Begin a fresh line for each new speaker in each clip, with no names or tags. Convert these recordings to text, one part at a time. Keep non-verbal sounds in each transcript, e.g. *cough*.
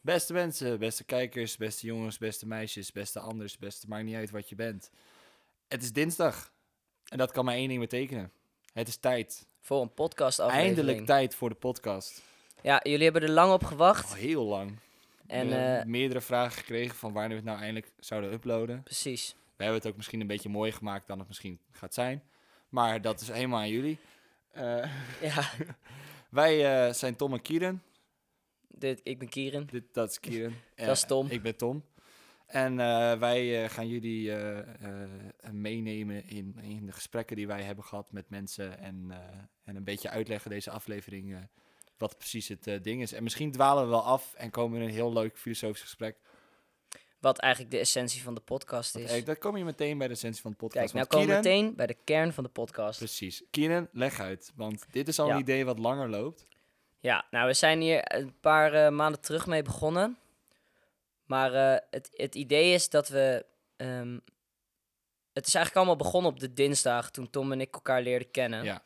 Beste mensen, beste kijkers, beste jongens, beste meisjes, beste anders, beste maakt niet uit wat je bent. Het is dinsdag. En dat kan maar één ding betekenen. Het is tijd.
Voor een podcast aflevering.
Eindelijk tijd voor de podcast.
Ja, jullie hebben er lang op gewacht.
Al heel lang.
en
We hebben
eh,
meerdere vragen gekregen van wanneer we het nou eindelijk zouden uploaden.
precies. *laughs*
We hebben het ook misschien een beetje mooier gemaakt dan het misschien gaat zijn. Maar dat is helemaal aan jullie. Eh, *laughs*
Ja,
wij eh, zijn Tom en Kieren.
dit, ik ben Kieran.
Dit, dat is Kieren.
*laughs* Dat is
Eh,
Tom.
Ik ben Tom. En eh, wij eh, gaan jullie eh, eh, meenemen in, in de gesprekken die wij hebben gehad met mensen. En, eh, en een beetje uitleggen deze aflevering eh, wat precies het eh, ding is. En misschien dwalen we wel af en komen we in een heel leuk filosofisch gesprek.
Wat eigenlijk de essentie van de podcast
Want,
is.
eh, dan kom je meteen bij de essentie van de podcast.
Kijk, nou
Want
komen we
Kieren-
meteen bij de kern van de podcast.
Precies. Kieren, leg uit. Want dit is al
Ja.
een idee wat langer loopt.
Ja, nou, we zijn hier een paar eh, maanden terug mee begonnen. Maar eh, het, het idee is dat we. ehm, het is eigenlijk allemaal begonnen op de dinsdag toen Tom en ik elkaar leerden kennen.
Ja.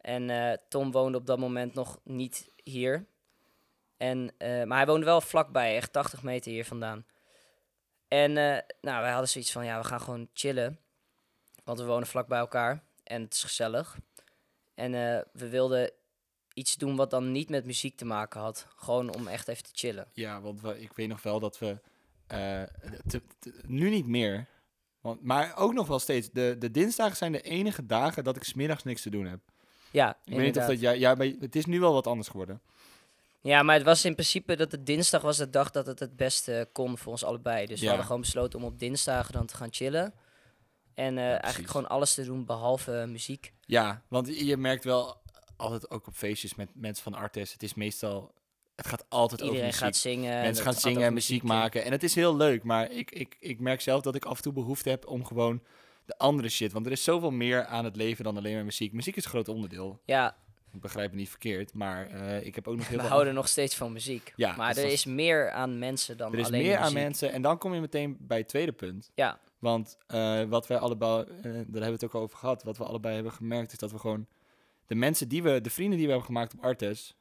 En eh, Tom woonde op dat moment nog niet hier. En, eh, maar hij woonde wel vlakbij, echt 80 meter hier vandaan. En eh, nou, wij hadden zoiets van, ja, we gaan gewoon chillen. Want we wonen vlak bij elkaar en het is gezellig. En eh, we wilden iets doen wat dan niet met muziek te maken had. Gewoon om echt even te chillen.
Ja, want we- ik weet nog wel dat we. eh, te- te- nu niet meer. Want, maar ook nog wel steeds. De, de dinsdagen zijn de enige dagen dat ik smiddags niks te doen heb.
Ja,
Ik weet niet of
inderdaad.
dat jij. Ja, maar het is nu wel wat anders geworden.
Ja, maar het was in principe dat het dinsdag was de dag dat het het beste kon voor ons allebei. Dus we
Ja.
hadden gewoon besloten om op dinsdagen dan te gaan chillen. En eh,
precies.
eigenlijk gewoon alles te doen behalve eh, muziek.
Ja, want je je merkt wel altijd ook op feestjes met mensen van artes. Het is meestal. Het gaat altijd over
Iedereen
muziek.
gaat zingen. en
Mensen
het
gaan
gaat
zingen
over
en muziek
en-
maken. En het is heel leuk. Maar ik, ik, ik merk zelf dat ik af en toe behoefte heb om gewoon de andere shit. Want er is zoveel meer aan het leven dan alleen maar muziek. Muziek is een groot onderdeel.
Ja,
Ik begrijp me niet verkeerd. Maar eh, ik heb
*laughs*
ook nog heel
we
veel.
houden nog steeds van muziek.
Ja,
maar
dus
er
dat-
is meer aan mensen dan
Er is
alleen
meer aan
muziek.
mensen. En dan kom je meteen bij het tweede punt.
Ja,
Want eh, wat wij allebei, eh, daar hebben we het ook over gehad. Wat we allebei hebben gemerkt is dat we gewoon de mensen die we, de vrienden die we hebben gemaakt op Artes.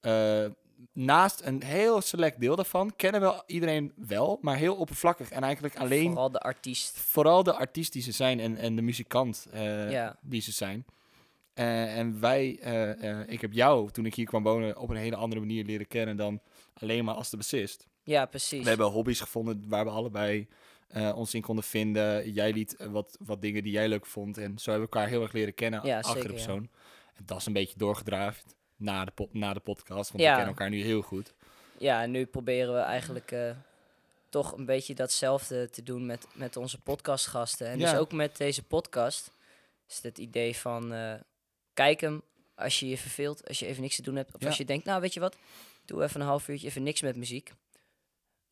eh, naast een heel select deel daarvan kennen we iedereen wel, maar heel oppervlakkig. En eigenlijk alleen vooral,
vooral de
de
artiest.
artiest die ze zijn en, en de muzikant eh,
Ja.
die ze zijn. Eh, en wij, eh, eh, ik heb jou toen ik hier kwam wonen op een hele andere manier leren kennen dan alleen maar als de bassist.
Ja, precies.
We hebben hobby's gevonden waar we allebei eh, ons in konden vinden. Jij liet eh, wat, wat dingen die jij leuk vond. En zo hebben we elkaar heel erg leren kennen
Ja,
achter de
zeker, ja.
persoon. En dat is een beetje doorgedraafd na de, po- na de podcast. Want
Ja.
we kennen elkaar nu heel goed.
Ja, en nu proberen we eigenlijk eh, toch een beetje datzelfde te doen met, met onze podcastgasten. En
Ja.
dus ook met deze podcast is het idee van eh, kijk hem als je je verveelt, als je even niks te doen hebt. Of
Ja.
als je denkt, nou weet je wat, doe even een half uurtje even niks met muziek.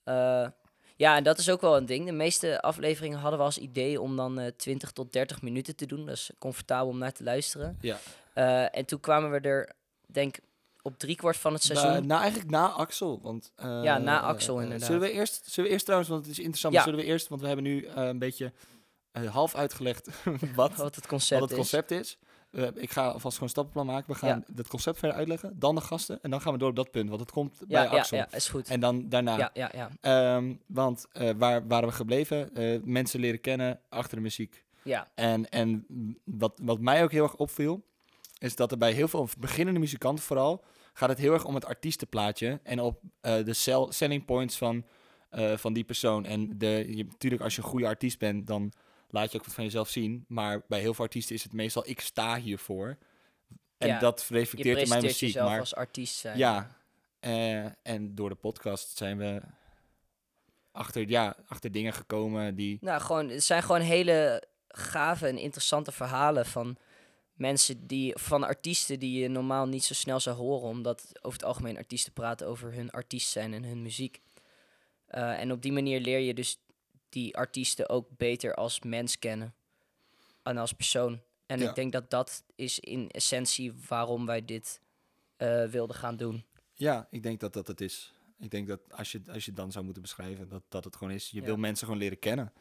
Eh, ja, en dat is ook wel een ding. De meeste afleveringen hadden we als idee om dan eh 20 tot 30 minuten te doen. Dat is comfortabel om naar te luisteren.
Ja.
Eh, en toen kwamen we er, denk op driekwart van het seizoen.
Na, na- Eh, nou, eigenlijk na Axel. Want, eh,
Ja, na
eh,
Axel
eh,
inderdaad.
Zullen we, eerst, zullen we eerst trouwens, want het is interessant.
Ja.
Zullen we eerst, want we hebben nu eh, een beetje eh, half uitgelegd *laughs* wat,
wat het concept
wat het
is.
concept is. Eh, ik ga alvast gewoon een stappenplan maken. We gaan het concept verder uitleggen. Dan de gasten. En dan gaan we door op dat punt. Want het komt
Ja,
bij
ja,
Axel.
ja, is goed.
En dan daarna.
ja, ja, ja.
Ehm, want eh, waar waren we gebleven? Eh, mensen leren kennen achter de muziek.
ja.
En, en wat, wat mij ook heel erg opviel, is dat er bij heel veel beginnende muzikanten vooral gaat het heel erg om het artiestenplaatje en op eh, de sell- selling points van, eh, van die persoon. En de, je, natuurlijk, als je een goede artiest bent, dan laat je ook wat van jezelf zien. Maar bij heel veel artiesten is het meestal ik sta hiervoor. En
Ja,
dat
Je
reflecteert in mijn
presenteert
muziek.
jezelf
Maar
als artiest zijn.
ja, eh, en door de podcast zijn we achter, ja, achter dingen gekomen die...
Nou, gewoon, het zijn gewoon hele gave en interessante verhalen van mensen die, van artiesten die je normaal niet zo snel zou horen, omdat over het algemeen artiesten praten over hun artiest zijn en hun muziek. Eh, en op die manier leer je dus die artiesten ook beter als mens kennen en als persoon. En
Ja.
ik denk dat dat is in essentie waarom wij dit eh, wilden gaan doen.
Ja, ik denk dat dat het is. Ik denk dat als je, als je het dan zou moeten beschrijven, dat, dat het gewoon is. Je
Ja.
wil mensen gewoon leren kennen.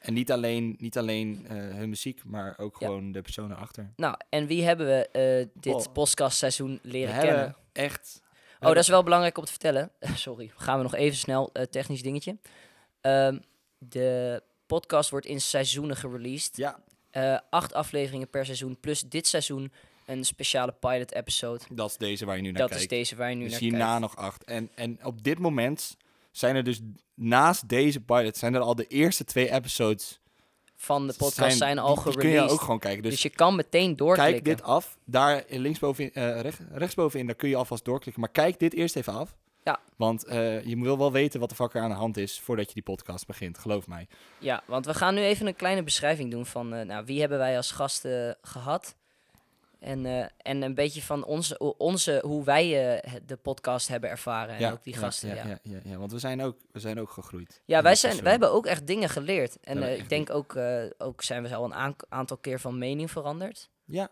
En niet alleen, niet alleen eh, hun muziek, maar ook
Ja.
gewoon de personen achter.
Nou, en wie hebben we eh, dit
Wow.
podcastseizoen leren
we
kennen?
hebben echt
Oh, dat is wel belangrijk om te vertellen. *laughs* Sorry, gaan we nog even snel. eh, technisch dingetje. Ehm, de podcast wordt in seizoenen gereleased.
Ja,
Eh, acht afleveringen per seizoen. Plus dit seizoen een speciale pilot episode.
dat is deze waar je nu naar
dat
kijkt.
is deze waar je nu
dus
naar
hierna
kijkt.
nog acht. En, en op dit moment zijn er dus naast deze pilot... zijn er al de eerste twee episodes...
Van de podcast zijn, al
die- Die kun
gereleased.
je ook gewoon kijken.
dus,
Dus,
je kan meteen doorklikken.
kijk dit af. Daar linksboven, eh recht, rechtsbovenin, daar kun je alvast doorklikken. Maar kijk dit eerst even af.
Ja.
Want eh, je wil wel weten wat de fuck er aan de hand is... voordat je die podcast begint, geloof mij.
Ja, want we gaan nu even een kleine beschrijving doen van eh, nou, wie hebben wij als gasten gehad. En, eh, en een beetje van onze, onze hoe wij eh, de podcast hebben ervaren. En ook die gasten. Ja,
Ja, ja, ja, ja, want we zijn ook, we zijn ook gegroeid.
Ja,
En
wij,
dat is
zijn,
zo.
wij hebben ook echt dingen geleerd. En
hebben
eh,
echt
ik denk ook, eh, ook zijn we al een aank- aantal keer van mening veranderd.
Ja,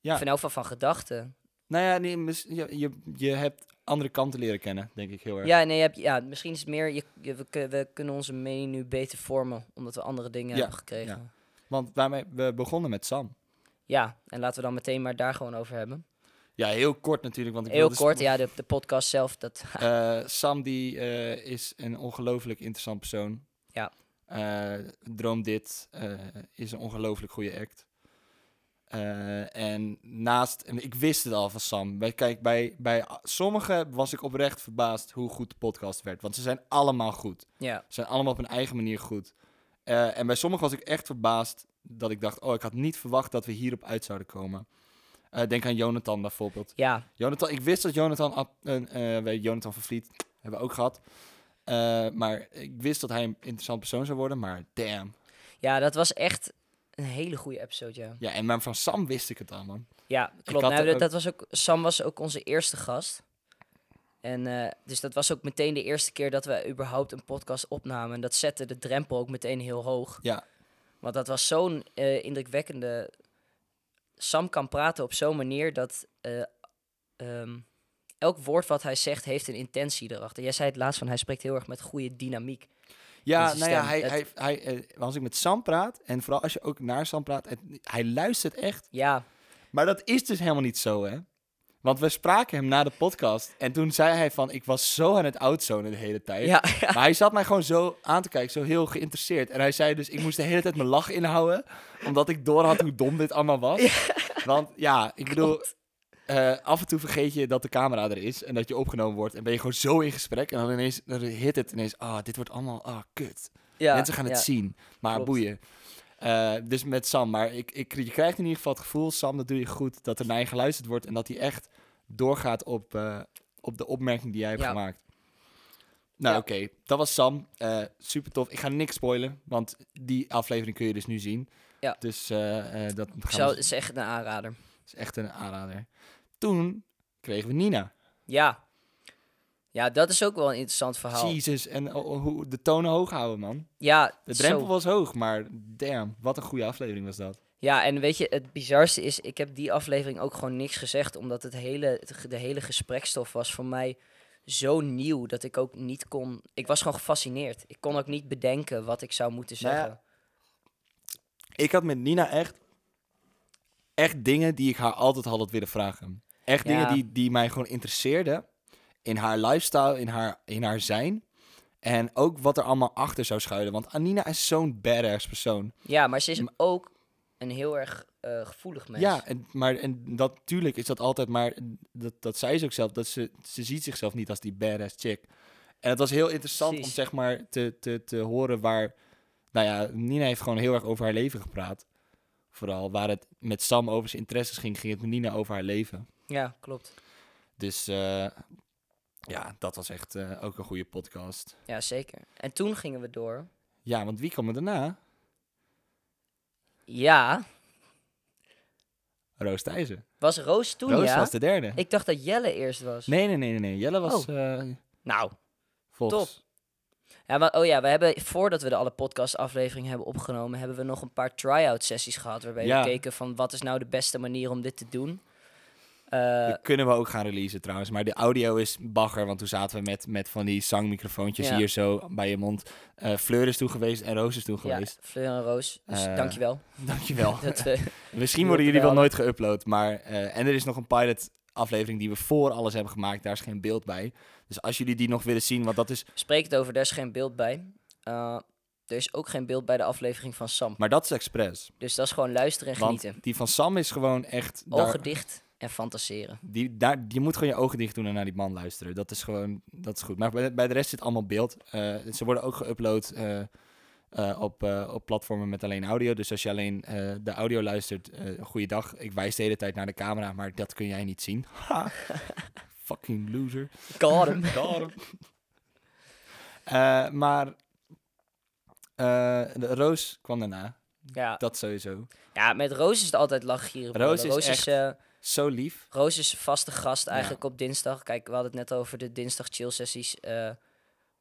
Ja.
Of in elk geval van gedachten.
nou ja, nee, mis- je, je, je hebt andere kanten leren kennen, denk ik heel erg.
Ja, nee, je hebt, ja, misschien is het meer, je, je- we, kun- we kunnen onze mening nu beter vormen. Omdat we andere dingen
Ja,
hebben gekregen. Ja.
Want waarmee we begonnen met Sam.
en laten we dan meteen maar daar gewoon over hebben.
Ja, heel kort natuurlijk. Want ik
Heel
wilde s-
kort, ja, de, de podcast zelf, dat *laughs*
eh, Sam die eh, is een ongelooflijk interessant persoon.
Ja.
Eh, Droom Dit eh, is een ongelooflijk goede act. Eh, en naast, en ik wist het al van Sam. Bij, kijk, bij, bij a- sommigen was ik oprecht verbaasd hoe goed de podcast werd. Want ze zijn allemaal goed.
Ja,
Ze zijn allemaal op hun eigen manier goed. Eh, en bij sommigen was ik echt verbaasd dat ik dacht... oh, ik had niet verwacht dat we hierop uit zouden komen. Eh, denk aan Jonathan bijvoorbeeld.
ja,
Jonathan, ik wist dat Jonathan... ab- een, eh, weet je, Jonathan van Vliet hebben we ook gehad. Eh, maar ik wist dat hij een interessant persoon zou worden, maar damn.
ja, dat was echt een hele goede episode, ja.
Ja, en maar van Sam wist ik het al, man.
Ja, klopt.
had
Nou,
er
dat, dat was ook, Sam was ook onze eerste gast. En eh, dus dat was ook meteen de eerste keer dat we überhaupt een podcast opnamen. En dat zette de drempel ook meteen heel hoog.
Ja.
Want dat was zo'n eh, indrukwekkende... Sam kan praten op zo'n manier dat... eh, ehm, elk woord wat hij zegt heeft een intentie erachter. Jij zei het laatst van, hij spreekt heel erg met goede dynamiek.
Ja,
Met
nou
zijn
ja, hij,
stem.
hij, hij, eh, als ik met Sam praat, en vooral als je ook naar Sam praat... het- hij luistert echt
Ja,
Maar dat is dus helemaal niet zo, hè? Want we spraken hem na de podcast. En toen zei hij van, ik was zo aan het outzonen de hele tijd.
ja, *laughs*
Maar hij zat mij gewoon zo aan te kijken, zo heel geïnteresseerd. En hij zei dus, ik moest de hele tijd mijn lach inhouden. Omdat ik door had hoe dom dit allemaal was. Want ja, ik bedoel... eh, af en toe vergeet je dat de camera er is en dat je opgenomen wordt. En ben je gewoon zo in gesprek. En dan ineens dan hit het ineens. Ah, dit wordt allemaal. Ah, kut.
ja.
Mensen gaan het
ja.
zien. Maar
Klopt.
boeien. Eh, dus met Sam. Maar ik, ik, je krijgt in ieder geval het gevoel, Sam, dat doe je goed. Dat er naar je geluisterd wordt. En dat hij echt doorgaat op, eh, op de opmerking die jij hebt
Ja.
gemaakt. Nou,
Ja.
oké. Dat was Sam. Eh, super tof. Ik ga niks spoilen. Want die aflevering kun je dus nu zien.
Ja.
Dus eh, eh, dat gaan
Ik
we-
zou het is echt een aanrader.
is echt een aanrader. Toen kregen we Nina.
Ja. Ja, dat is ook wel een interessant verhaal.
Jezus. En oh, oh, hoe de tonen hoog houden, man.
Ja,
De drempel
zo.
was hoog. Maar damn, wat een goede aflevering was dat.
ja, en weet je, het bizarste is, ik heb die aflevering ook gewoon niks gezegd, omdat het hele, het ge- de hele gesprekstof was voor mij zo nieuw dat ik ook niet kon. Ik was gewoon gefascineerd. Ik kon ook niet bedenken wat ik zou moeten
Nou ja.
zeggen.
Ik had met Nina echt, echt dingen die ik haar altijd al had willen vragen. Echt
Ja.
dingen die, die mij gewoon interesseerden. In haar lifestyle, in haar, in haar zijn. En ook wat er allemaal achter zou schuilen. Want Anina is zo'n badass persoon.
Ja, maar ze is ook een heel erg eh, gevoelig mens.
Ja, en, maar en dat, natuurlijk is dat altijd maar... Dat, dat zei ze ook zelf, dat ze, ze ziet zichzelf niet als die badass chick. En het was heel interessant
Precies.
om zeg maar te, te, te horen waar... Nou ja, Nina heeft gewoon heel erg over haar leven gepraat. Vooral waar het met Sam over zijn interesses ging, ging het met Nina over haar leven.
ja klopt.
Dus eh, ja, dat was echt eh, ook een goede podcast.
Ja, zeker. En toen gingen we door.
Ja, want wie kwam er daarna?
Ja,
Roos Thijssen.
was Roos toen,
Roos
ja?
was de derde.
Ik dacht dat Jelle eerst was.
Nee, nee, nee, nee, nee. Jelle was eh,
Nou,
volgens...
Ja, maar, oh ja, we hebben voordat we de alle podcastaflevering hebben opgenomen, hebben we nog een paar try-out sessies gehad. Waarbij
Ja.
we keken van wat is nou de beste manier om dit te doen. Eh,
Die kunnen we ook gaan releasen trouwens. Maar de audio is bagger. Want toen zaten we met, met van die zangmicrofoontjes
Ja.
hier zo bij je mond. Eh Fleur is toe geweest en Roos is toe
ja,
geweest. *laughs*
Fleur en Roos, dus
Eh, *laughs*
dankjewel.
Dankjewel.
Dat, eh,
Misschien worden jullie wel
wel.
nooit geüpload. Maar, eh, en er is nog een pilot aflevering die we voor alles hebben gemaakt. Daar is geen beeld bij. Dus als jullie die nog willen zien, want dat is...
Spreek het over, daar is geen beeld bij. Eh, er is ook geen beeld bij de aflevering van Sam.
Maar dat is expres.
Dus dat is gewoon luisteren en
Want
genieten.
die van Sam is gewoon echt... daar-
Ogen dicht en
*laughs*
fantaseren.
Die, daar, je moet gewoon je ogen dicht doen en naar die man luisteren. Dat is gewoon, dat is goed. Maar bij, bij de rest zit allemaal beeld. Eh, ze worden ook geüpload eh, eh, op, eh, op platformen met alleen audio. Dus als je alleen eh, de audio luistert, eh goeiedag. Ik wijs de hele tijd naar de camera, maar dat kun jij niet zien. *laughs* Ha. Fucking loser.
Got hem.
Daarom. *laughs* Eh, maar eh, de Roos kwam daarna.
Ja.
Dat sowieso.
ja, met Roos is het altijd lachgieren.
Roos
brullen.
is
Roos
echt-
is, eh,
Zo lief.
Roos is vaste gast eigenlijk op dinsdag. Kijk, we hadden het net over de dinsdag chill sessies. Eh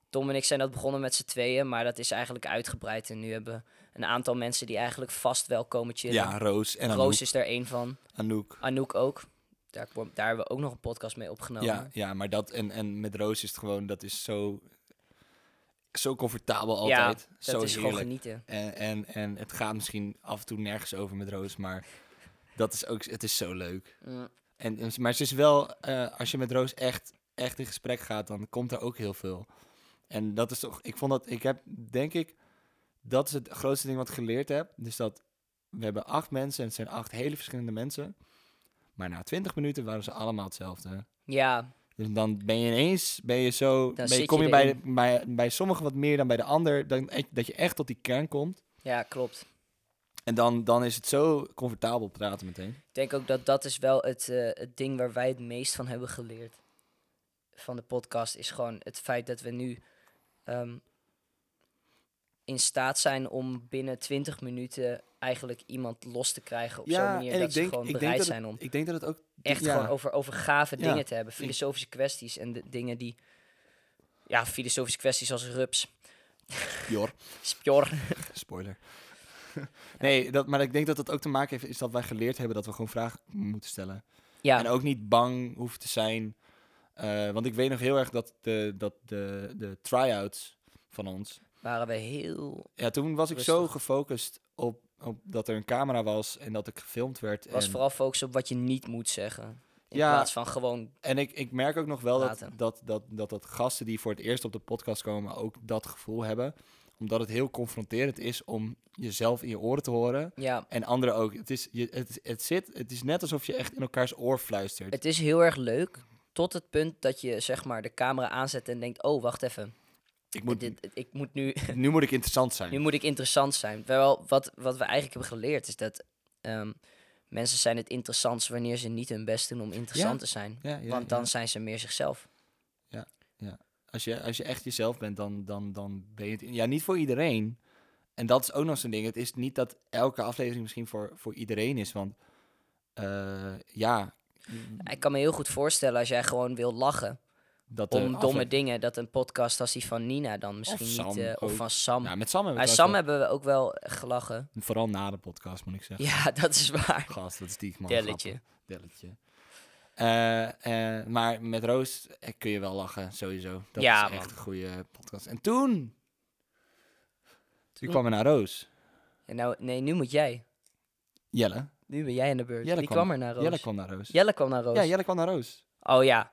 Tom en ik zijn dat begonnen met z'n tweeën, maar dat is eigenlijk uitgebreid. En nu hebben we een aantal mensen die eigenlijk vast wel komen chillen.
Ja, Roos en
Roos
Roos.
is er één van.
Anouk.
Anouk ook. Daar, kwam- daar hebben we ook nog een podcast mee opgenomen.
Ja, ja, maar dat en, en met Roos is het gewoon, dat is zo, zo comfortabel altijd.
dat
zo
is gewoon
heerlijk.
genieten.
En, en, en het gaat misschien af en toe nergens over met Roos, maar dat is ook, het is zo leuk.
Mm.
En, en- maar ze is wel, eh, als je met Roos echt, echt in gesprek gaat, dan komt er ook heel veel. En dat is toch, ik vond dat, ik heb denk ik, dat is het grootste ding wat ik geleerd heb. Dus dat we hebben acht mensen en het zijn acht hele verschillende mensen. Maar na twintig minuten waren ze allemaal hetzelfde.
Ja,
Dus dan ben je ineens, ben je zo, ben je-
zit je
kom je bij,
erin.
bij, bij sommigen wat meer dan bij de ander, dan, e- dat je echt tot die kern komt.
ja, klopt.
En dan, dan is het zo comfortabel praten meteen.
Ik denk ook dat dat is wel het, eh, het ding waar wij het meest van hebben geleerd. Van de podcast is gewoon het feit dat we nu ehm, in staat zijn om binnen 20 minuten eigenlijk iemand los te krijgen op zo'n manier dat ze gewoon bereid
dat
zijn om
het, ik denk dat het ook
echt
ja,
gewoon over, over gave
Ja.
dingen te hebben. Filosofische kwesties en de dingen die... Ja, filosofische kwesties als rups,
Jor,
spjor.
spoiler. *laughs* nee, dat, maar ik denk dat dat ook te maken heeft, is dat wij geleerd hebben dat we gewoon vragen moeten stellen.
Ja,
En ook niet bang hoeft te zijn. Eh, want ik weet nog heel erg dat de, dat de, de try-outs van ons,
waren we heel...
Ja, toen was ik zo
Rustig.
gefocust op, op dat er een camera was en dat ik gefilmd werd.
was
en
vooral focus op wat je niet moet zeggen. In
Ja.
plaats van gewoon
en ik, ik merk ook nog wel dat,
Laten.
dat, dat, dat, dat gasten die voor het eerst op de podcast komen ook dat gevoel hebben. Omdat het heel confronterend is om jezelf in je oren te horen.
Ja,
En anderen ook. Het is, je, het, het, zit, het is net alsof je echt in elkaars oor fluistert.
het is heel erg leuk. Tot het punt dat je zeg maar de camera aanzet en denkt: Oh, wacht even.
ik moet,
dit, ik moet nu,
*laughs* nu moet ik interessant zijn.
nu moet ik interessant zijn. Wel, wat, wat we eigenlijk hebben geleerd is dat ehm, mensen zijn het interessantst wanneer ze niet hun best doen om interessant
Ja.
te zijn.
Ja, ja,
Want dan
ja.
zijn ze meer zichzelf.
Als, je, als je echt jezelf bent, dan, dan, dan ben je het... Ja, niet voor iedereen. En dat is ook nog zo'n ding. Het is niet dat elke aflevering misschien voor, voor iedereen is. Want eh, ja,
Ik kan me heel goed voorstellen als jij gewoon wil lachen
dat eh,
om
er
domme
afle-
dingen, dat een podcast als die van Nina dan misschien
Sam
niet. eh,
ook.
of van Sam.
Ja, met Sam hebben
maar
we
Sam
trouwens
hebben we ook wel gelachen. *laughs*
wel- Vooral na de podcast, moet ik zeggen.
Ja, dat is waar.
Gast, dat is die man.
Delletje.
grappig. Delletje. Eh, eh, maar met Roos eh, kun je wel lachen, sowieso. Dat
Ja,
is echt
man.
een goede podcast. En toen... Toen, kwamen we naar Roos.
En nou, nee, nu moet jij.
Jelle.
Nu ben jij aan de beurt.
Jelle
Wie
kwam-
kwam, er naar Roos?
Jelle kwam naar Roos.
Jelle kwam naar Roos.
Ja, Jelle kwam naar Roos.
Oh ja.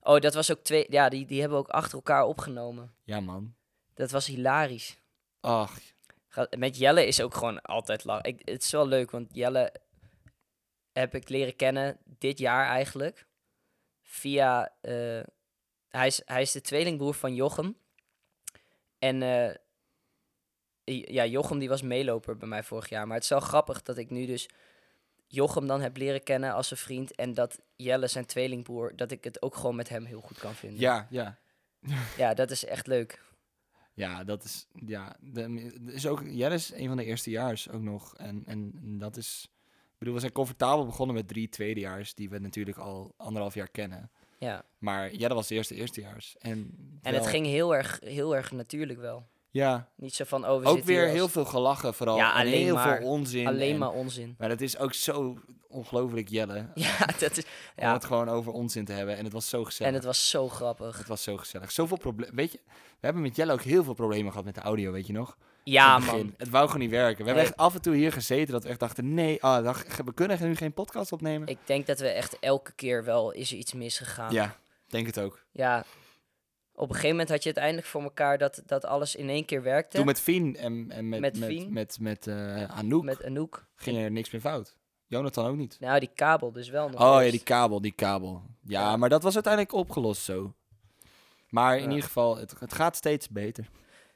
Oh, dat was ook twee. Ja, die, die hebben we ook achter elkaar opgenomen.
Ja, man.
Dat was hilarisch.
Ach,
Ga- Met Jelle is ook gewoon altijd lang. Ik, het is wel leuk, want Jelle heb ik leren kennen dit jaar eigenlijk. Via. eh, hij, is, hij is de tweelingbroer van Jochem. En. eh, i- ja, Jochem die was meeloper bij mij vorig jaar. Maar het is wel grappig dat ik nu dus. Jochem dan heb leren kennen als een vriend. En dat Jelle zijn tweelingbroer. Dat ik het ook gewoon met hem heel goed kan vinden.
ja, ja.
ja dat is echt leuk.
Ja, dat is, ja, de, de- is ook, Jelle is een van de eerstejaars ook nog. En, en dat is, ik bedoel, we zijn comfortabel begonnen met drie tweedejaars, die we natuurlijk al anderhalf jaar kennen.
Ja.
Maar Jelle was de eerste eerstejaars. En,
En
wel-
het ging heel erg, heel erg natuurlijk wel.
Ja,
Niet zo van, oh, we
ook
zitten hier
weer
als
heel veel gelachen vooral.
Ja,
en
alleen
heel
maar.
veel onzin.
alleen
en-
maar onzin. *laughs*
Maar dat is ook zo ongelooflijk jellen.
Ja, dat is,
Om
ja.
het gewoon over onzin te hebben. En het was zo gezellig.
En het was zo grappig.
Het was zo gezellig. Zoveel problemen. Weet je, we hebben met Jelle ook heel veel problemen gehad met de audio, weet je nog?
Ja,
In het begin.
man.
Het wou gewoon niet werken. We hebben
Nee.
echt af en toe hier gezeten dat we echt dachten: nee, ah, dag- we kunnen nu geen podcast opnemen.
Ik denk dat we echt elke keer wel is er iets misgegaan.
Ja, denk het ook.
Ja. Op een gegeven moment had je het eindelijk voor elkaar dat, dat alles in één keer werkte.
Toen met Fien en, en met, met,
Met
met,
Fien.
met, eh, Anouk
Met Anouk.
ging er niks meer fout. Jonathan ook niet.
Nou, die kabel dus wel nog.
Oh ja,
eens.
die kabel, die kabel. Ja,
Ja.
maar dat was uiteindelijk opgelost zo. Maar in
Ja.
ieder geval, het, het gaat steeds beter.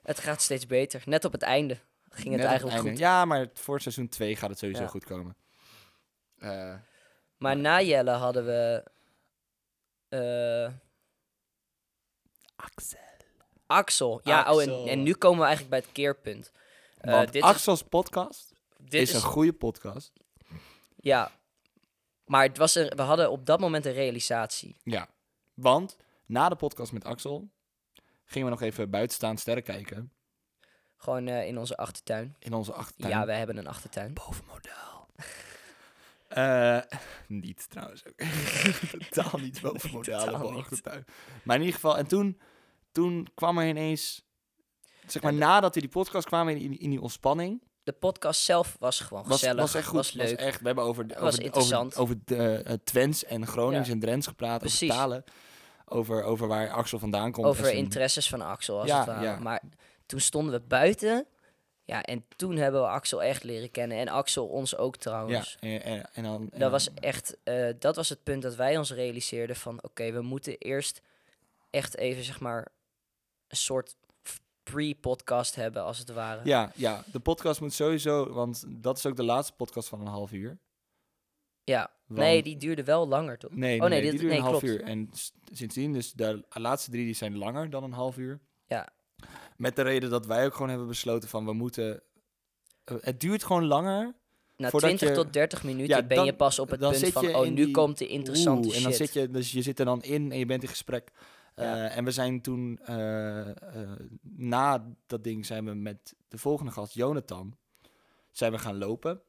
Het gaat steeds beter. Net op het einde ging
Net
het
op
eigenlijk
einde.
goed.
Ja, maar het- voor seizoen 2 gaat het sowieso
Ja.
goed komen. Eh,
Maar na Jelle hadden we... eh, Axel. Ja, Oh,
Axel.
en, en nu komen we eigenlijk bij het keerpunt. Eh,
want
dit is-
Axel's podcast
Dit
is, een goede podcast.
Ja. Maar het was er, we hadden op dat moment een realisatie.
Ja. Want na de podcast met Axel gingen we nog even buiten staan sterren kijken.
Gewoon eh, in onze achtertuin.
In onze achtertuin.
Ja, we hebben een achtertuin.
bovenmodel. Eh, niet trouwens ook. *laughs* Totaal
*laughs*
niet bovenmodel.
Totaal
op een
niet.
achtertuin. Maar in ieder geval, en toen, toen kwam er ineens, zeg maar
En
nadat we die podcast kwamen in, in die ontspanning,
De podcast zelf was gewoon
was,
Oh, gezellig.
was echt goed.
Was leuk.
echt, we hebben over, de-
Was
over, de- over,
interessant.
over de, eh, Twents en Gronings
Ja.
en Drents gepraat,
Precies.
over talen, over, over waar Axel vandaan komt.
Over
en zijn-
interesses van Axel. Als
Ja,
het ware.
ja.
Maar toen stonden we buiten. Ja, en toen hebben we Axel echt leren kennen. En Axel ons ook
Ja,
trouwens.
en, en, en dan, en
Dat
dan-
was echt, eh, dat was het punt dat wij ons realiseerden van, oké, we moeten eerst echt even, zeg maar, een soort f- pre-podcast hebben, als het ware.
Ja, ja, de podcast moet sowieso, want dat is ook de laatste podcast van een half uur.
Ja.
Want-
Nee, die duurde wel langer, toch?
Nee,
Oh,
nee,
nee,
die
dit-
duurt
nee,
een half
klopt.
uur. En s- sindsdien, dus de laatste drie die zijn langer dan een half uur.
Ja.
Met de reden dat wij ook gewoon hebben besloten van we moeten... eh, Het duurt gewoon langer.
Na
Voordat
20
je-
tot 30 minuten
Ja,
ben
dan-
je pas op het
dan
punt
zit
van,
je
oh,
in
nu
die-
komt de interessante
Oeh, en
shit.
dan zit je, dus je zit er dan in en je bent in gesprek.
Ja.
Eh, en we zijn toen, eh, eh, na dat ding, zijn we met de volgende gast, Jonathan, zijn we gaan lopen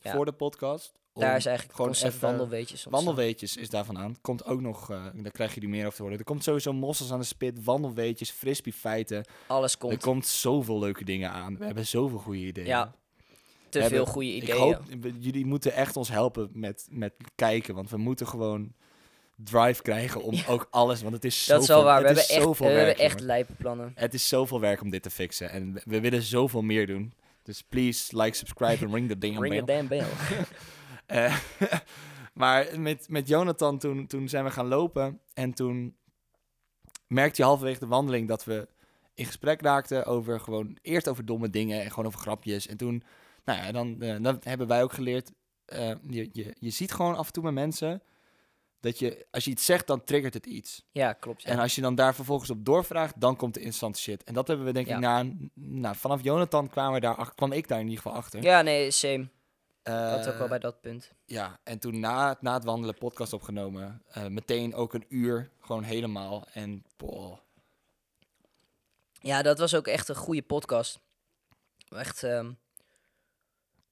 Ja.
voor de podcast. om-
Daar is eigenlijk
gewoon
gewoon concept
even-
wandelweetjes ontstaan.
Wandelweetjes is daarvan aan. Komt ook nog, eh, daar krijg je nu meer over te horen. Er komt sowieso mossels aan de spit, wandelweetjes, frisbee feiten.
Alles
Er
komt.
komt zoveel leuke dingen aan. We hebben zoveel goede ideeën.
Ja,
We
te
hebben-
veel goede
Ik
ideeën.
hoop, we- jullie moeten echt ons helpen met, met kijken, want we moeten gewoon drive krijgen
*laughs*
om ook alles, want het is zoveel
dat is wel waar.
het
We hebben
is
echt, we
zoveel
hebben
werk,
echt
jongen.
lijpe plannen.
Het is zoveel werk om dit te fixen en we, we willen zoveel meer doen. Dus please like, subscribe en ring the ding
Ring a damn bell.
Eh, *laughs* maar met, met Jonathan toen, toen zijn we gaan lopen. En toen merkte je halverwege de wandeling dat we in gesprek raakten over gewoon eerst over domme dingen en gewoon over grapjes. En toen, nou ja, dan, eh, dan hebben wij ook geleerd. eh, je, je, je ziet gewoon af en toe bij mensen dat je, als je iets zegt, dan triggert het iets.
ja, klopt. ja.
En als je dan daar vervolgens op doorvraagt, dan komt de interessante shit. En dat hebben we denk
Ja.
ik na, een- nou, vanaf Jonathan kwamen we daar, ach- kwam ik daar in ieder geval achter.
Ja, nee, same.
Eh,
Dat ook wel bij dat punt.
ja, en toen na, het- na het wandelen podcast opgenomen. eh, meteen ook een uur, gewoon helemaal. En boah,
Ja, dat was ook echt een goede podcast. Echt, ehm,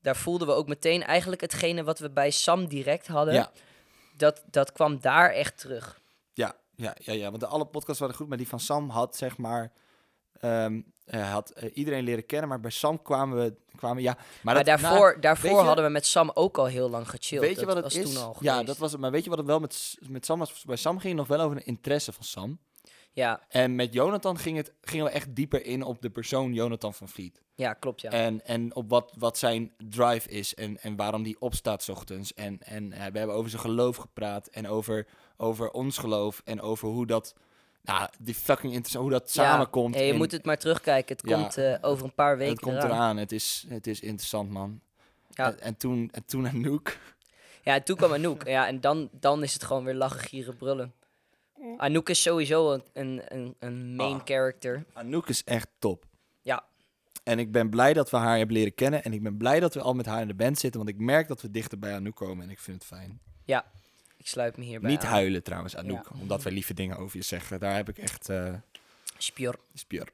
daar voelden we ook meteen eigenlijk hetgene wat we bij Sam direct hadden.
Ja.
Dat, dat kwam daar echt terug.
Ja, ja, ja, ja, want de alle podcasts waren goed, maar die van Sam had zeg maar... ehm, eh, had eh, iedereen leren kennen, maar bij Sam kwamen we... Kwamen, ja, maar,
Maar,
dat- nou,
daarvoor,
weet
daarvoor
je-
hadden we met Sam ook al heel lang
na-
gechilled.
weet je
dat
wat het
was
is?
toen al
ja,
geweest.
dat was het. Maar weet je wat het wel met, S- met Sam was? Bij Sam ging het nog wel over de interesse van Sam.
Ja,
En met Jonathan ging het, gingen we echt dieper in op de persoon Jonathan van Vliet.
ja, klopt ja.
En, en op wat, wat zijn drive is en, en waarom die opstaat 's ochtends. En, en eh, we hebben over zijn geloof gepraat en over, over ons geloof en over hoe dat, nou, die fucking interessant, hoe dat
Ja,
samenkomt.
ja, je
en
moet het maar terugkijken. Het
Ja,
komt eh, over een paar weken
het komt
eraan.
eraan, het is, het is interessant, man.
Ja.
En, en toen, en toen Anouk.
Ja, en toen kwam Anouk. Ja, en dan, dan is het gewoon weer lachen, gieren, brullen. Anouk is sowieso een, een, een, een main
Ah.
character.
Anouk is echt top.
Ja.
En ik ben blij dat we haar hebben leren kennen. En ik ben blij dat we al met haar in de band zitten. Want ik merk dat we dichter bij Anouk komen. En ik vind het fijn.
Ja, ik sluit me hierbij
Niet
aan.
huilen trouwens, Anouk. Omdat wij lieve dingen over je zeggen. Daar heb ik echt... eh, *laughs*
Spjor. *laughs*
Spjor.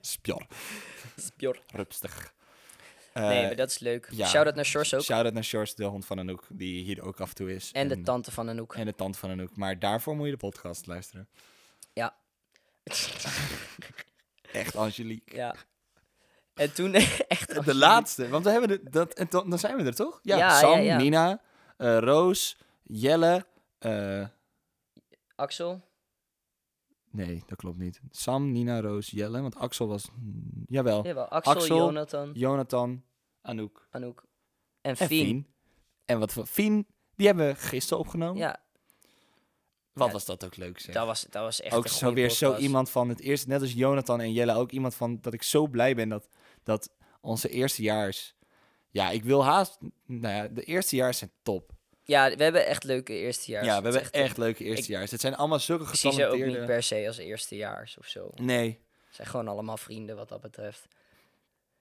Spjor.
Spjor.
Rupstig. Eh,
Nee, maar dat is leuk.
ja.
Shout-out naar Shores ook.
Shout-out naar Shores, de hond van Anouk, die hier ook af en toe is.
En de tante van Anouk.
en de tand van Anouk. Maar daarvoor moet je de podcast luisteren.
Ja.
Echt Angelique.
*laughs* ja. En toen *laughs* echt...
De laatste, want we hebben de, dat, en dan, dan zijn we er toch? Ja,
Ja,
Sam,
ja, ja.
Nina, eh, Roos, Jelle. eh,
Axel.
nee, dat klopt niet. Sam, Nina, Roos, Jelle. Want Axel was. mm, Jawel.
Jawel, Axel,
Axel,
Jonathan,
Jonathan, Anouk
Anouk. En
en
Fien.
Fien. En wat voor Fien, die hebben we gisteren opgenomen.
Ja,
Wat
Ja,
was dat ook leuk, zeg.
dat was, dat was echt
ook
een
zo
goeie
weer zo
podcast.
iemand van het eerste, net als Jonathan en Jelle, ook iemand van dat ik zo blij ben dat, dat onze eerstejaars. Ja, ik wil haast. Nou ja, de eerstejaars zijn top.
Ja, we hebben echt leuke eerstejaars.
ja,
Het
we
is
hebben echt,
een-
leuke eerstejaars. Het zijn allemaal zulke
Ik zie ze ook niet
getalenteerde...
per se als eerstejaars of zo.
Nee,
Ze zijn gewoon allemaal vrienden wat dat betreft.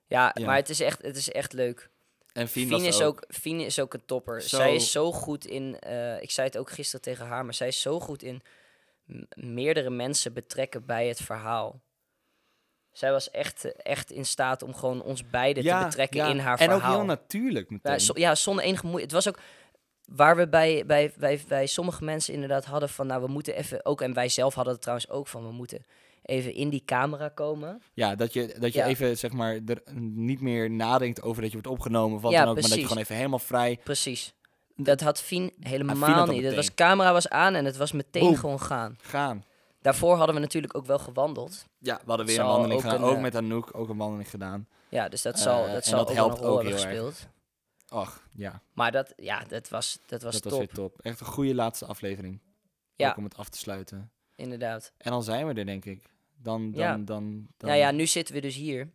Ja,
Ja.
maar het is echt, het is echt leuk.
en Fien,
Fien
was
is,
ook.
ook, Fien is ook een topper.
Zo-
Zij is zo goed in. eh, ik zei het ook gisteren tegen haar, maar zij is zo goed in m- meerdere mensen betrekken bij het verhaal. Zij was echt, eh, echt in staat om gewoon ons beiden te betrekken
ja.
in haar
en
verhaal.
ook heel natuurlijk meteen.
Ja, zo- ja, zonder enige moeite. Het was ook waar we bij, bij, bij, bij sommige mensen inderdaad hadden van... nou, we moeten even ook... en wij zelf hadden het trouwens ook van... we moeten even in die camera komen.
ja, dat je, dat je
Ja.
even, zeg maar, er niet meer nadenkt over dat je wordt opgenomen of wat
Ja,
dan ook, maar dat je
precies.
gewoon even helemaal vrij...
Precies. Dat had Fien helemaal
Ah, Fien had dat
niet. Het
meteen.
was, camera was aan en het was meteen
Boom.
gewoon gaan.
gaan.
Daarvoor hadden we natuurlijk ook wel gewandeld.
Ja, we hadden weer
Zal
een wandeling
ook
gedaan.
een,
ook
eh,
met Anouk, ook een wandeling gedaan.
Ja, dus dat
Eh,
zal,
en
dat zal
dat
ook
helpt
wel een rol
ook
hebben
heel erg.
gespeeld.
Ach, ja,
Maar dat, ja, dat was, dat was
dat was
top,
weer top. Echt een goede laatste aflevering.
Ja.
Ook om het af te sluiten.
inderdaad.
En dan zijn we er, denk ik. Dan, dan,
Ja.
dan, dan,
Nou ja, nu zitten we dus hier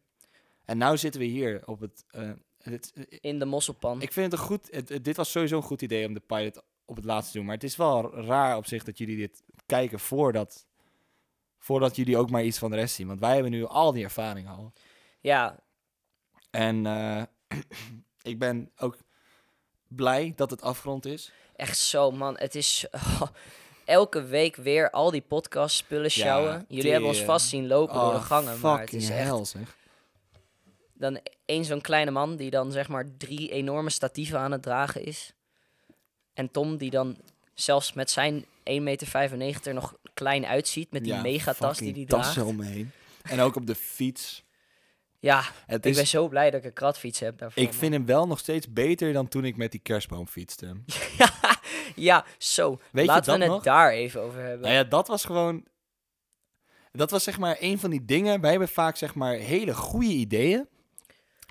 En nou zitten we hier op het... eh, dit,
in de mosselpan.
Ik vind het een goed. het- het- dit was sowieso een goed idee om de pilot op het laatst te doen. Maar het is wel raar op zich dat jullie dit kijken voordat. Voordat jullie ook maar iets van de rest zien. Want wij hebben nu al die ervaring al.
Ja,
En eh, *clears throat* ik ben ook blij dat het afgerond is.
Echt zo, man. Het is oh, elke week weer al die podcasts, spullen
Ja,
sjouwen. Jullie hebben ons
tering.
vast zien lopen door de gangen. Maar het is
Oh, fucking
echt
hell, zeg.
dan één zo'n kleine man die dan zeg maar drie enorme statieven aan het dragen is. En Tom die dan zelfs met zijn 1,95 meter er nog klein uitziet met die
Ja,
megatas die
fucking
hij
tassen
draagt.
omheen. En ook op de fiets.
Ja,
Het
ik
is,
ben zo blij dat ik een kratfiets heb daarvoor.
ik vind hem wel nog steeds beter dan toen ik met die kerstboom fietste.
man. Ja, zo.
Weet je
Laten
dat
we het
nog?
daar even over hebben.
Nou ja, dat was gewoon. Dat was zeg maar een van die dingen. Wij hebben vaak zeg maar hele goede ideeën.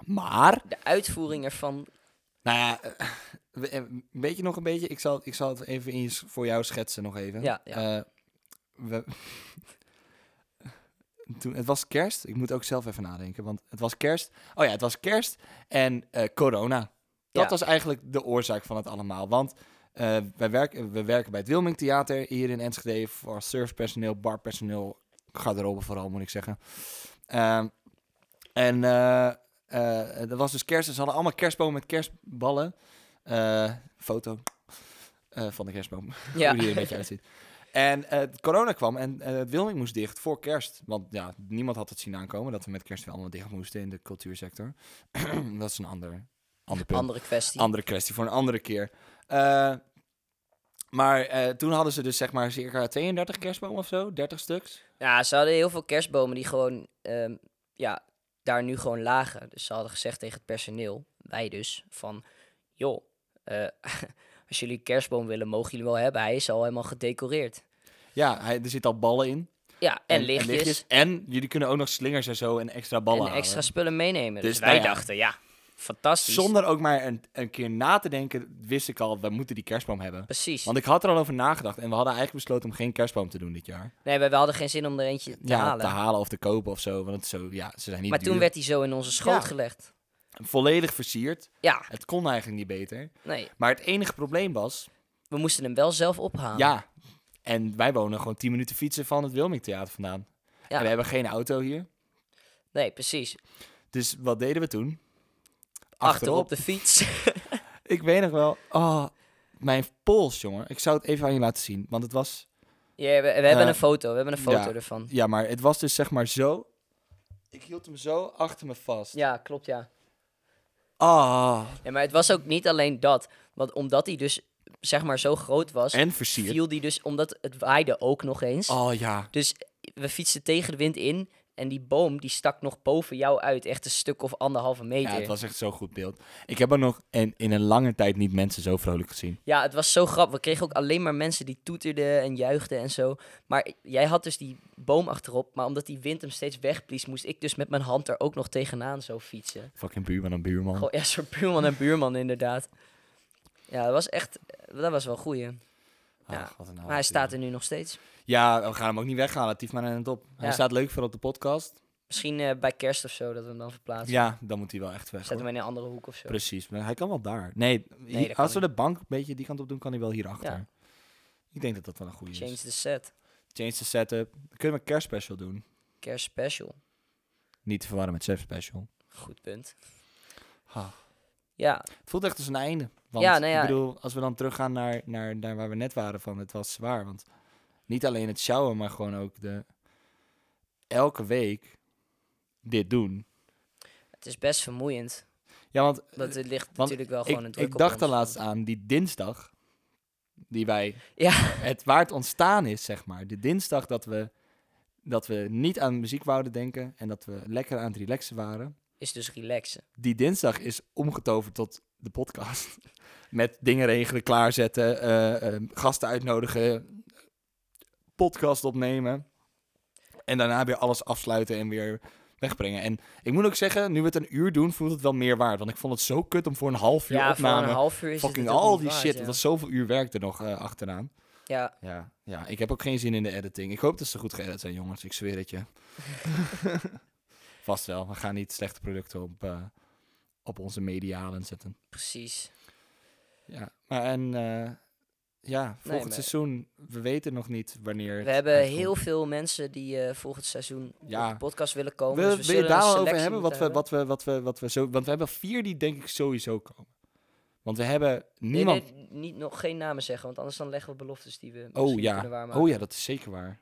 Maar,
De uitvoering ervan,
nou ja, eh, we- eh, weet je nog een beetje? Ik zal, ik zal het even eens voor jou schetsen nog even.
Ja, ja.
Eh, we, *laughs* toen, het was kerst. Ik moet ook zelf even nadenken, want het was kerst. Oh ja, het was kerst en eh, corona. Dat
Ja.
was eigenlijk de oorzaak van het allemaal. Want eh, wij werken, we werken bij het Wilming Theater hier in Enschede voor surfpersoneel, barpersoneel, garderobe vooral moet ik zeggen. Ehm, en eh eh, er was dus kerst, ze hadden allemaal kerstbomen met kerstballen. Eh, foto eh, van de kerstboom,
ja.
hoe die er een beetje uitziet. En eh, corona kwam en eh, het Wilming moest dicht voor kerst. Want ja, niemand had het zien aankomen dat we met kerst weer allemaal dicht moesten in de cultuursector. *clears throat* dat is een ander, ander punt.
andere kwestie.
Andere kwestie voor een andere keer. Eh, maar eh, toen hadden ze dus zeg maar circa 32 kerstbomen of zo, 30 stuks.
Ja, ze hadden heel veel kerstbomen die gewoon, ehm, ja, daar nu gewoon lagen. Dus ze hadden gezegd tegen het personeel, wij dus, van, joh, eh, *laughs* als jullie een kerstboom willen, mogen jullie wel hebben. Hij is al helemaal gedecoreerd.
Ja, hij, er zitten al ballen in.
Ja, en, lichtjes, en,
En jullie kunnen ook nog slingers en zo en extra ballen halen.
extra spullen meenemen. Dus,
Dus
wij
nou ja.
dachten, ja, fantastisch.
Zonder ook maar een, een keer na te denken, wist ik al, we moeten die kerstboom hebben.
Precies.
Want ik had er al over nagedacht en we hadden eigenlijk besloten om geen kerstboom te doen dit jaar.
Nee, we, we hadden geen zin om er eentje te
ja,
halen.
te halen of te kopen of zo, want het is zo, ja, ze zijn niet
maar toen
duur.
werd hij zo in onze schoot
Ja.
gelegd.
Volledig versierd.
Ja,
Het kon eigenlijk niet beter.
nee.
Maar het enige probleem was,
We moesten hem wel zelf ophalen.
Ja, en wij wonen gewoon 10 minuten fietsen van het Wilming Theater vandaan. En we hebben geen auto hier.
Nee, precies.
Dus wat deden we toen?
Achterop op de fiets. *laughs*
Ik weet nog wel. Oh, mijn pols, jongen. Ik zou het even aan je laten zien. Want het was.
ja, we, we hebben
Eh,
een foto. We hebben een foto
ja.
ervan.
Ja, maar het was dus zeg maar zo. Ik hield hem zo achter me vast.
Ja, klopt, ja.
Ah,
Ja, maar het was ook niet alleen dat. Want omdat hij dus, zeg maar, zo groot was,
en versierd.
viel die dus, omdat het waaide ook nog eens.
Oh ja.
Dus we fietsten tegen de wind in en die boom die stak nog boven jou uit. Echt een stuk of anderhalve meter.
Ja, het was echt zo'n goed beeld. Ik heb er nog in, in een lange tijd niet mensen zo vrolijk gezien.
zo grappig. We kregen ook alleen maar mensen die toeterden en juichten en zo. Maar jij had dus die boom achterop. Maar omdat die wind hem steeds wegblies, moest ik dus met mijn hand er ook nog tegenaan zo fietsen.
Fucking buurman en buurman.
Goh, ja, soort *laughs* buurman en buurman inderdaad. Ja, dat was echt... Dat was wel een goeie. ja.
Ach, Ah, wat een
Maar hij
avontuur.
staat er nu nog steeds.
Ja, we gaan hem ook niet weghalen. Tief maar aan het op. Hij
Ja.
staat leuk voor op de podcast.
Misschien eh, bij kerst of zo dat we hem dan verplaatsen.
Ja, dan moet hij wel echt weg.
Zet hem
hoor.
in een andere hoek of zo.
Precies, maar hij kan wel daar. Nee, hier-
dat kan
als we
niet.
de bank een beetje die kant op doen, kan hij wel hierachter.
Ja.
Ik denk dat dat wel een goede
Change
is.
the set.
Change the setup. Dan kunnen we een kerstspecial doen.
Kerst special.
Niet te verwarren met sepspecial.
Goed punt.
Ha.
Ja,
Het voelt echt als een einde. Want
Ja, nou ja.
ik bedoel, als we dan teruggaan naar, naar, naar waar we net waren van, het was zwaar. Want niet alleen het sjouwen, maar gewoon ook de... Elke week dit doen.
het is best vermoeiend.
Ja, want
Dat er ligt natuurlijk wel
ik,
gewoon een druk
ik
op
dacht
ons.
er laatst aan die dinsdag die wij
Ja.
het waar het ontstaan is zeg maar de dinsdag dat we dat we niet aan muziek wouden denken en dat we lekker aan het relaxen waren
Is dus relaxen.
die dinsdag is omgetoverd tot de podcast *laughs* met dingen regelen klaarzetten eh, eh, gasten uitnodigen podcast opnemen en daarna weer alles afsluiten en weer wegbrengen en ik moet ook zeggen nu we het een uur doen voelt het wel meer waard want ik vond het zo kut om voor een half uur
Ja,
opname
voor een half uur is het
fucking
het ook
al
niet
die
waard,
shit.
ja.
Dat was zoveel uur werk er nog eh, achteraan.
Ja,
Ja. ja, ik heb ook geen zin in de editing. Ik hoop dat ze goed geëdit zijn, jongens. Ik zweer
*laughs*
het je. Vast wel. We gaan niet slechte producten op, eh, op onze medialen zetten.
precies.
Ja, maar en... eh, ja, volgend
maar-
seizoen, we weten nog niet wanneer het
We hebben
uitkomt.
heel veel mensen die eh, volgend seizoen
Ja.
op de podcast willen komen.
Wil,
dus we
wil je
zullen
het daar
een
wel over
selectie
hebben? Wat
moeten
we, wat, we, wat, we, wat we zo... Want we hebben vier die denk ik sowieso komen. Want we hebben
Nee,
niemand...
nee, niet, nog geen namen zeggen, want anders dan leggen we beloftes die we
oh,
misschien kunnen
ja.
waarmaken.
oh ja, dat is zeker waar.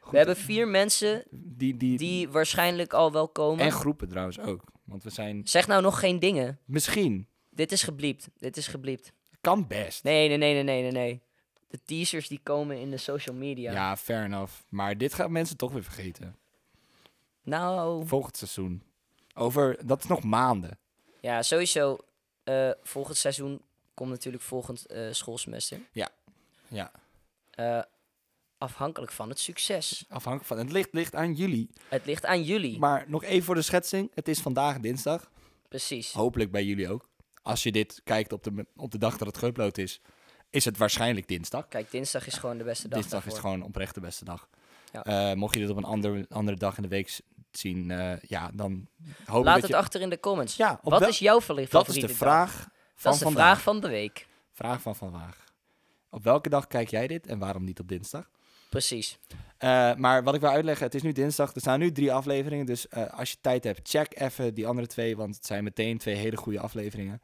Goed.
We hebben vier mensen
die, die,
die waarschijnlijk al wel komen.
En groepen trouwens ook. Want we zijn.
Zeg nou nog geen dingen.
Misschien.
Dit is gebliept. Dit is gebliept.
Kan best.
Nee, nee, nee, nee, nee, nee, nee. De teasers die komen in de social media.
Ja. fair enough. Maar dit gaan mensen toch weer vergeten.
Nou,
Volgend seizoen. Over. Dat is nog maanden.
ja, sowieso. eh, volgend seizoen komt natuurlijk volgend eh, schoolsemester.
Ja.
Eh, afhankelijk van het succes.
Afhankelijk van. Het ligt, ligt aan jullie.
Het ligt aan jullie.
Maar nog even voor de schetsing. Het is vandaag dinsdag.
Precies.
Hopelijk bij jullie ook. Als je dit kijkt op de, op de dag dat het geüpload is, is het waarschijnlijk dinsdag.
Kijk, dinsdag is gewoon de beste dag.
Dinsdag is
daarvoor.
gewoon oprecht de beste dag.
Ja.
Eh, mocht je dit op een ander, andere dag in de week s- zien, eh, ja, dan hoop
Laat
ik dat
het
je...
achter in de comments.
Ja, op
Wat
wel-
is jouw verlicht
Dat is de vraag van
Dat is de
vandaag.
vraag van de week.
Vraag van vandaag. Op welke dag kijk jij dit en waarom niet op dinsdag?
Precies.
Eh, maar wat ik wil uitleggen, het is nu dinsdag. Er staan nu drie afleveringen. Dus eh, als je tijd hebt, check even die andere twee. Want het zijn meteen twee hele goede afleveringen.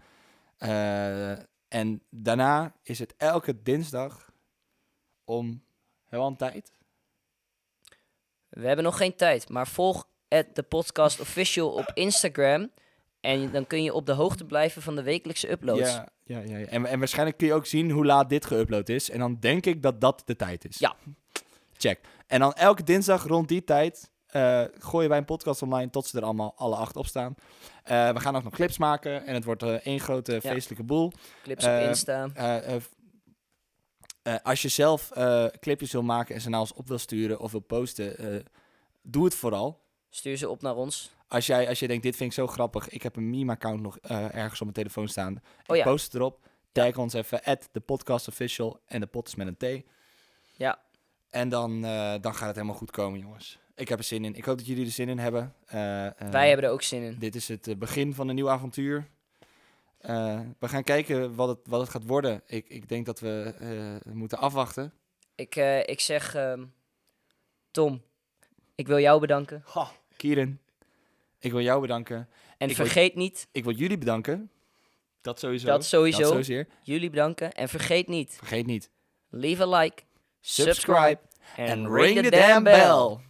Eh, en daarna is het elke dinsdag om heel aan tijd.
We hebben nog geen tijd, maar volg het de podcast official op Instagram. En dan kun je op de hoogte blijven van de wekelijkse uploads.
Ja, ja, ja, ja. En, en waarschijnlijk kun je ook zien hoe laat dit geüpload is. En dan denk ik dat dat de tijd is.
Ja.
Check. En dan elke dinsdag rond die tijd eh, gooien wij een podcast online tot ze er allemaal alle acht op staan. Eh, we gaan ook nog clips maken en het wordt eh, één grote feestelijke boel.
Clips op
Eh,
Insta.
Eh, eh, f- eh, als je zelf eh, clipjes wil maken en ze naar ons op wil sturen of wil posten, eh, doe het vooral.
Stuur ze op naar ons.
Als jij, als jij denkt, dit vind ik zo grappig, ik heb een meme-account nog eh, ergens op mijn telefoon staan. Ik
Oh ja.
post het erop. Tag ons even, at de podcast official en de pot is met een T.
Ja.
En dan, eh, dan gaat het helemaal goed komen, jongens. Ik heb er zin in. Ik hoop dat jullie er zin in hebben. Eh, eh,
Wij hebben er ook zin in.
Dit is het eh, begin van een nieuw avontuur. Eh, we gaan kijken wat het, wat het gaat worden. Ik, ik denk dat we eh, moeten afwachten.
Ik, eh, ik zeg, ehm, Tom, ik wil jou bedanken.
Kieran, ik wil jou bedanken.
En
Ik wil-
vergeet niet,
Ik wil jullie bedanken. Dat sowieso.
dat sowieso.
Dat zozeer.
Jullie bedanken. En vergeet niet,
Vergeet niet.
leave a like, subscribe
Subscribe
en
and
ring the damn bell.